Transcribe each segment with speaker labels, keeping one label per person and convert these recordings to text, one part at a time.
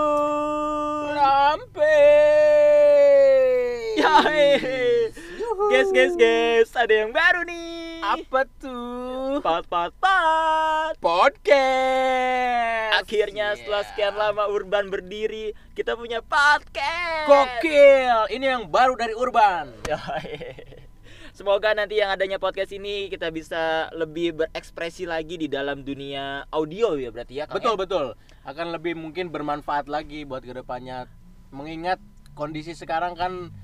Speaker 1: Sampurasun.
Speaker 2: Sampai.
Speaker 1: Yoi.
Speaker 2: Yuhu.
Speaker 1: Ya, Guys, guys, guys, ada yang baru nih.
Speaker 2: Uhuh. Apa tuh?
Speaker 1: Pot, pot, pot.
Speaker 2: Podcast. Iya.
Speaker 1: Akhirnya setelah sekian lama Urban berdiri, kita punya podcast. Ya,
Speaker 2: Kokil, ini yang baru dari Urban.
Speaker 1: Yoi. Semoga nanti yang adanya podcast ini kita bisa lebih berekspresi lagi di dalam dunia audio ya berarti ya. Kang,
Speaker 2: Betul
Speaker 1: ya?
Speaker 2: betul. Akan lebih mungkin bermanfaat lagi buat kedepannya. Mengingat kondisi sekarang kan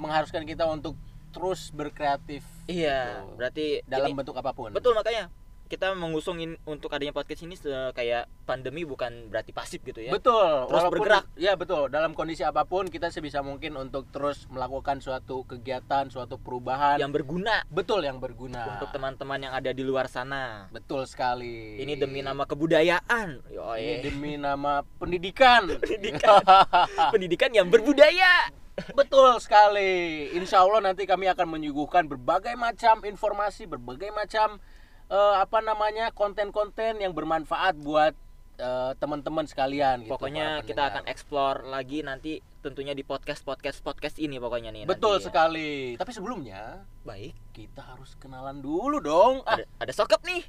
Speaker 2: mengharuskan kita untuk terus berkreatif
Speaker 1: Iya,
Speaker 2: Betul.
Speaker 1: berarti
Speaker 2: dalam
Speaker 1: ini-
Speaker 2: bentuk apapun.
Speaker 1: Betul makanya kita mengusung in- untuk adanya podcast ini se- kayak pandemi bukan berarti pasif gitu ya.
Speaker 2: Betul.
Speaker 1: Terus bergerak.
Speaker 2: Ya betul. Dalam kondisi apapun kita sebisa mungkin untuk terus melakukan suatu kegiatan, suatu perubahan.
Speaker 1: Yang berguna
Speaker 2: betul yang berguna.
Speaker 1: untuk teman-teman yang ada di luar sana.
Speaker 2: betul sekali.
Speaker 1: Ini demi nama kebudayaan. Yoi.
Speaker 2: Ini demi nama pendidikan.
Speaker 1: pendidikan. pendidikan yang berbudaya.
Speaker 2: Betul sekali. Insya Allah nanti kami akan menyuguhkan berbagai macam informasi, berbagai macam eh, apa namanya konten-konten yang bermanfaat buat eh, teman-teman sekalian. gitu,
Speaker 1: pokoknya
Speaker 2: para
Speaker 1: kita akan
Speaker 2: pendengar.
Speaker 1: explore lagi nanti tentunya di podcast podcast podcast ini pokoknya nih.
Speaker 2: Betul
Speaker 1: nanti ya.
Speaker 2: sekali. Tapi sebelumnya
Speaker 1: Baik.
Speaker 2: kita harus kenalan dulu dong. Ah,
Speaker 1: Ada, ada sokap nih.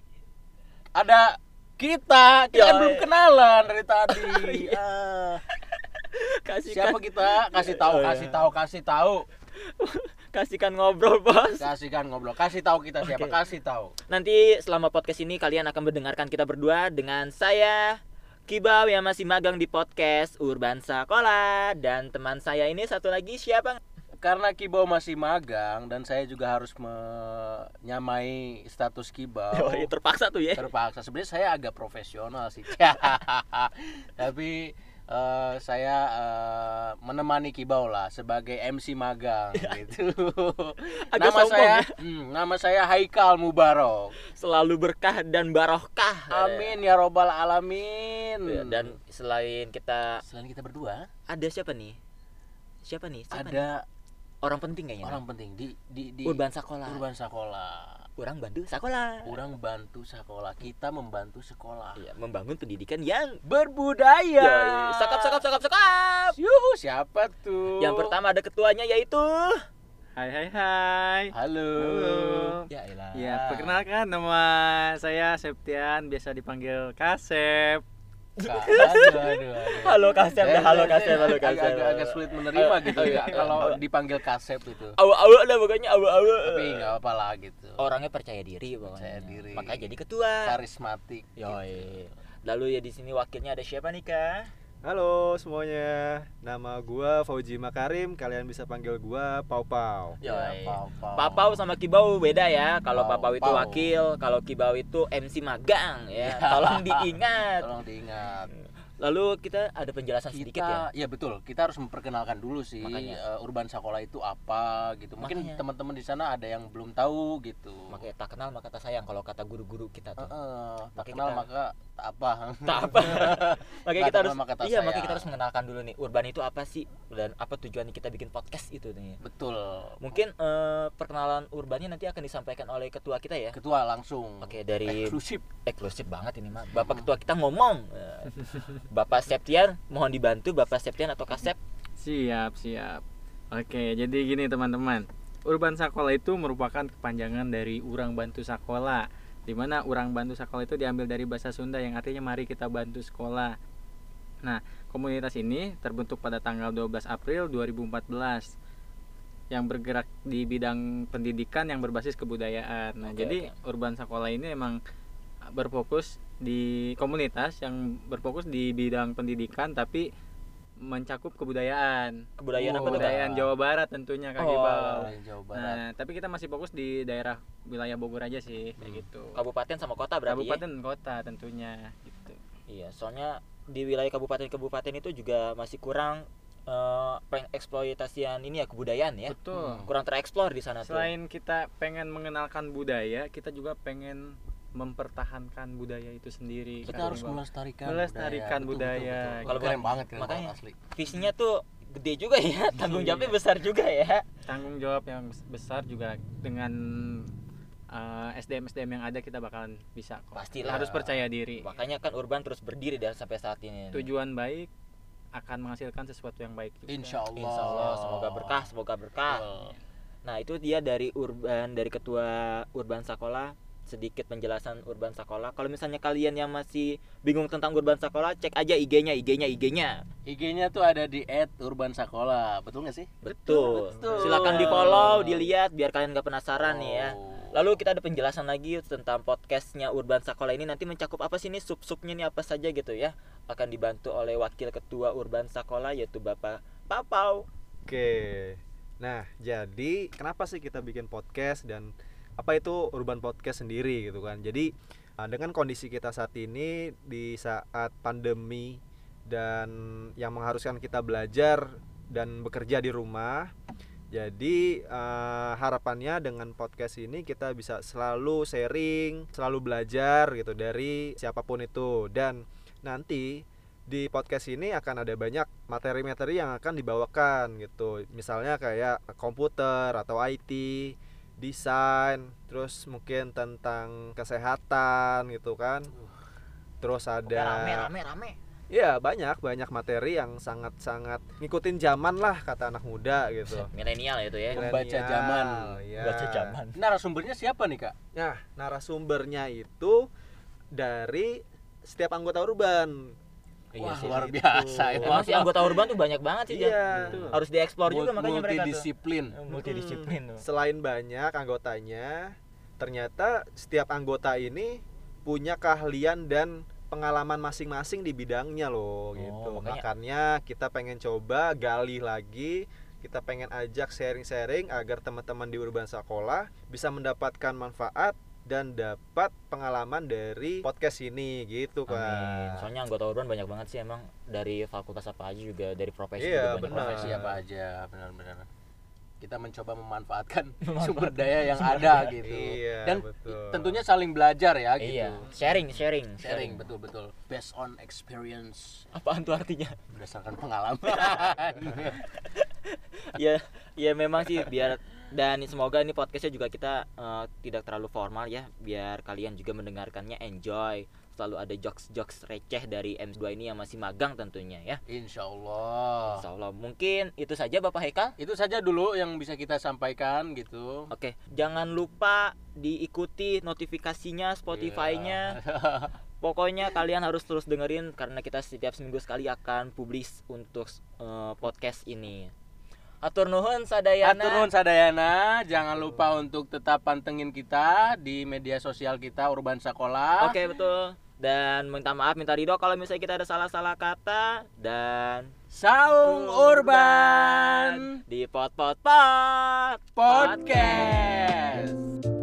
Speaker 2: ada kita. Kita kan
Speaker 1: Yoi.
Speaker 2: belum kenalan dari tadi.
Speaker 1: Oh, iya.
Speaker 2: Ah,
Speaker 1: Kasihkan
Speaker 2: siapa kita? Kasih tahu,
Speaker 1: Iya.
Speaker 2: kasih tahu, kasih tahu.
Speaker 1: kasihkan ngobrol, Bos.
Speaker 2: Kasihkan ngobrol. Kasih tahu kita siapa?
Speaker 1: Oke.
Speaker 2: Kasih tahu.
Speaker 1: Nanti selama podcast ini kalian akan mendengarkan kita berdua dengan saya Kibau yang masih magang di podcast Urban Sakola dan teman saya ini satu lagi siapa?
Speaker 2: karena Kibau masih magang dan saya juga harus menyamai status Kibau.
Speaker 1: Oh, iya, terpaksa tuh ya.
Speaker 2: Terpaksa sebenarnya saya agak profesional sih. Tapi eh, saya eh, menemani Kibau lah sebagai MC magang gitu.
Speaker 1: Agak
Speaker 2: nama
Speaker 1: sombong
Speaker 2: saya
Speaker 1: ya.
Speaker 2: hmm, nama saya Haikal Mubarok.
Speaker 1: Selalu berkah dan barokah. Iya,
Speaker 2: Amin ya robbal alamin.
Speaker 1: Dan selain kita
Speaker 2: selain kita berdua
Speaker 1: ada siapa nih? Siapa nih? Siapa nih?
Speaker 2: ada
Speaker 1: Orang penting kayaknya.
Speaker 2: orang penting di di di
Speaker 1: Urban Sakola.
Speaker 2: Iya, Urban Sakola.
Speaker 1: Orang Bandung Sakola.
Speaker 2: Orang bantu sekolah, kita membantu sekolah.
Speaker 1: Eh. Iya, membangun pendidikan yang
Speaker 2: Berbudaya.
Speaker 1: Yoi. Sokap, sokap, sokap, sokap.
Speaker 2: Yuhu, siapa tuh?
Speaker 1: Yang pertama ada ketuanya yaitu
Speaker 3: Hai hai hai.
Speaker 2: Halo.
Speaker 3: Halo.
Speaker 2: Ya elah.
Speaker 4: Ah.
Speaker 3: Ya, perkenalkan nama saya Septian, biasa dipanggil Kasep.
Speaker 2: Ka- Aduh, aduh, aduh.
Speaker 1: Halo Kasep,
Speaker 2: Saya-
Speaker 1: dah. halo
Speaker 2: saya-
Speaker 1: Kasep, halo Eh.
Speaker 2: agak-
Speaker 1: Kasep.
Speaker 2: Agak, eh, agak sulit menerima gitu ya kalau dipanggil kasep itu.
Speaker 1: awu-awu lah pokoknya awu-awu
Speaker 2: Tapi nggak apa lah gitu.
Speaker 1: orangnya percaya diri pokoknya
Speaker 2: Percaya diri.
Speaker 1: makanya jadi ketua
Speaker 2: Karismatik.
Speaker 1: Yoi. lalu ya di sini wakilnya ada siapa nih kak
Speaker 4: Halo semuanya, nama gua Fauji Makarim, kalian bisa panggil gua Pau Pau.
Speaker 1: Yoi.
Speaker 2: Papau.
Speaker 1: Papau sama Kibau beda ya. Kalau
Speaker 2: Pau,
Speaker 1: Papau itu
Speaker 2: Pau.
Speaker 1: wakil, kalau Kibau itu MC magang ya. Tolong diingat.
Speaker 2: Tolong diingat.
Speaker 1: Lalu kita ada penjelasan sedikit ya.
Speaker 2: kita ya betul kita harus memperkenalkan dulu sih
Speaker 1: Makanya.
Speaker 2: eh, urban sakola itu apa gitu mungkin
Speaker 1: Makanya.
Speaker 2: teman-teman di sana ada yang belum tahu gitu
Speaker 1: Makanya tak kenal maka tak sayang kalau kata guru-guru kita
Speaker 2: Eh,
Speaker 1: tuh.
Speaker 2: eh, tak
Speaker 1: Makanya
Speaker 2: kenal
Speaker 1: kita-
Speaker 2: maka tak apa
Speaker 1: Tak apa. makanya
Speaker 2: Tak
Speaker 1: kita
Speaker 2: kenal
Speaker 1: harus
Speaker 2: maka tak
Speaker 1: Iya, makanya
Speaker 2: sayang.
Speaker 1: kita harus mengenalkan dulu nih urban itu apa sih dan apa tujuannya kita bikin podcast itu nih.
Speaker 2: betul
Speaker 1: Mungkin eh, perkenalan urbannya nanti akan disampaikan oleh ketua kita ya.
Speaker 2: ketua langsung
Speaker 1: Oke, dari
Speaker 2: eksklusif
Speaker 1: eksklusif banget ini mah. Bapak ketua kita ngomong. Eh, Bapak Septian mohon dibantu Bapak Septian atau Kasep.
Speaker 3: Siap, siap. Oke, jadi gini teman-teman. Urban Sakola itu merupakan kepanjangan dari Urang Bantu Sakola. Di mana Urang Bantu Sakola itu diambil dari bahasa Sunda yang artinya mari kita bantu sekolah. Nah, komunitas ini terbentuk pada tanggal 12 April 2014 yang bergerak di bidang pendidikan yang berbasis kebudayaan. Nah,
Speaker 1: Oke,
Speaker 3: jadi Urban Sakola ini emang berfokus di komunitas yang berfokus di bidang pendidikan tapi mencakup kebudayaan.
Speaker 1: Kebudayaan
Speaker 3: Oh,
Speaker 1: apa tuh, Kak?
Speaker 3: Kebudayaan Jawa Barat tentunya
Speaker 1: Oh.
Speaker 3: Kak Gibal.
Speaker 2: dari Jawa Barat
Speaker 3: Nah, tapi kita masih fokus di daerah wilayah Bogor aja sih kayak gitu.
Speaker 1: Hmm. Kabupaten sama kota berarti. ya?
Speaker 3: Kabupaten kota tentunya gitu.
Speaker 1: Iya, soalnya di wilayah kabupaten-kabupaten itu juga masih kurang eh, pengeksploitasian ini ya kebudayaan ya.
Speaker 3: Betul.
Speaker 1: Kurang tereksplor di sana tuh.
Speaker 3: Selain kita pengen mengenalkan budaya, kita juga pengen mempertahankan budaya itu sendiri.
Speaker 2: kita
Speaker 3: Kak
Speaker 2: harus
Speaker 3: Gibal.
Speaker 2: melestarikan
Speaker 3: Melestarikan budaya.
Speaker 2: kalau
Speaker 1: Kalau
Speaker 2: keren banget keren
Speaker 1: makanya-
Speaker 2: banget asli
Speaker 1: Visinya tuh gede juga ya, tanggung jawabnya
Speaker 3: Iya.
Speaker 1: besar juga ya.
Speaker 3: tanggung jawab yang besar juga dengan eh, SDM SDM yang ada kita bakalan bisa kok.
Speaker 1: Pastilah.
Speaker 3: Harus percaya diri.
Speaker 1: Makanya kan Urban terus berdiri dari sampai saat ini.
Speaker 3: Tujuan baik akan menghasilkan sesuatu yang baik juga.
Speaker 2: Insya Allah.
Speaker 1: Insya Allah semoga berkah, semoga berkah.
Speaker 2: Betul.
Speaker 1: Nah itu dia dari Urban dari ketua Urban Sakola sedikit penjelasan Urban Sakola. Kalau misalnya kalian yang masih bingung tentang Urban Sakola, cek aja IG-nya, IG-nya, IG-nya.
Speaker 2: IG-nya tuh ada di @urbansakola, betul nggak sih?
Speaker 1: Betul.
Speaker 2: Betul.
Speaker 1: Silakan di follow, dilihat biar kalian gak penasaran nih ya.
Speaker 2: Oh.
Speaker 1: Lalu kita ada penjelasan lagi tentang podcastnya Urban Sakola ini nanti mencakup apa sih ini sub-subnya nih apa saja gitu ya akan dibantu oleh wakil ketua Urban Sakola yaitu Bapak Papau.
Speaker 4: Oke. Nah, jadi kenapa sih kita bikin podcast dan apa itu urban podcast sendiri gitu kan. Jadi ah, dengan kondisi kita saat ini di saat pandemi dan yang mengharuskan kita belajar dan bekerja di rumah. Jadi eh, harapannya dengan podcast ini kita bisa selalu sharing, selalu belajar gitu dari siapapun itu dan nanti di podcast ini akan ada banyak materi-materi yang akan dibawakan gitu. Misalnya kayak komputer atau IT, desain, terus mungkin tentang kesehatan gitu kan. Terus ada
Speaker 1: Rame rame rame.
Speaker 4: Iya banyak banyak materi yang sangat sangat ngikutin zaman lah kata anak muda gitu.
Speaker 1: Milenial itu ya.
Speaker 2: Membaca
Speaker 4: Milenial,
Speaker 2: zaman.
Speaker 4: iya.
Speaker 2: Narasumbernya siapa nih kak?
Speaker 4: Nah narasumbernya itu dari setiap anggota urban.
Speaker 2: Wah
Speaker 4: sih,
Speaker 2: luar
Speaker 4: itu.
Speaker 2: biasa ya. itu.
Speaker 1: Iya Emang sih anggota urban tuh banyak banget sih Jan.
Speaker 4: Iya.
Speaker 3: Betul.
Speaker 1: Harus dieksplor juga makanya mereka tuh. Iya. Hmm.
Speaker 2: Multidisiplin.
Speaker 1: Multidisiplin
Speaker 4: Mm-mm.
Speaker 1: tuh.
Speaker 4: Selain banyak anggotanya, ternyata setiap anggota ini punya keahlian dan pengalaman masing-masing di bidangnya
Speaker 1: Oh,
Speaker 4: loh gitu.
Speaker 1: makanya-
Speaker 4: Makanya kita pengen coba gali lagi, kita pengen ajak sharing-sharing agar teman-teman di Urban Sekolah bisa mendapatkan manfaat dan dapat pengalaman dari podcast ini gitu
Speaker 1: Amin.
Speaker 4: kan.
Speaker 1: Soalnya anggota urban banyak banget sih emang dari fakultas apa aja juga dari profesi
Speaker 4: Iya,
Speaker 1: juga banyak
Speaker 4: benar.
Speaker 1: banget.
Speaker 2: Profesi apa aja benar-benar. Kita mencoba memanfaatkan sumber daya yang ada gitu.
Speaker 4: Iya,
Speaker 2: Dan
Speaker 4: betul.
Speaker 2: tentunya saling belajar ya gitu.
Speaker 1: Iya, sharing, sharing,
Speaker 2: Sharing betul-betul. Based on experience
Speaker 1: Apaan tuh artinya?
Speaker 2: berdasarkan pengalaman.
Speaker 1: ya ya memang sih biar dan semoga ini podcastnya juga kita eh, tidak terlalu formal ya biar kalian juga mendengarkannya enjoy selalu ada jokes jokes receh dari M2 ini yang masih magang tentunya ya
Speaker 2: Insya Allah.
Speaker 1: Insya Allah mungkin itu saja Bapak Hekal
Speaker 2: Itu saja dulu yang bisa kita sampaikan gitu.
Speaker 1: Oke jangan lupa diikuti notifikasinya Spotify-nya
Speaker 2: Iya.
Speaker 1: pokoknya kalian harus terus dengerin karena kita setiap seminggu sekali akan publis untuk eh, podcast ini Atur nuhun sadayana
Speaker 2: Atur nuhun sadayana, jangan lupa untuk tetap pantengin kita di media sosial kita Urban Sakola.
Speaker 1: Oke betul. Dan minta maaf minta ridho kalau misalnya kita ada salah-salah kata dan
Speaker 2: Saung Urban
Speaker 1: di pot pot pot
Speaker 2: Podcast.